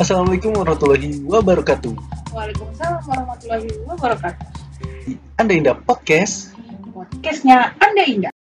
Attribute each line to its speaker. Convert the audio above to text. Speaker 1: Assalamualaikum warahmatullahi wabarakatuh.
Speaker 2: Waalaikumsalam warahmatullahi wabarakatuh.
Speaker 1: Anda Indah Podcast.
Speaker 2: Podcastnya Anda Indah.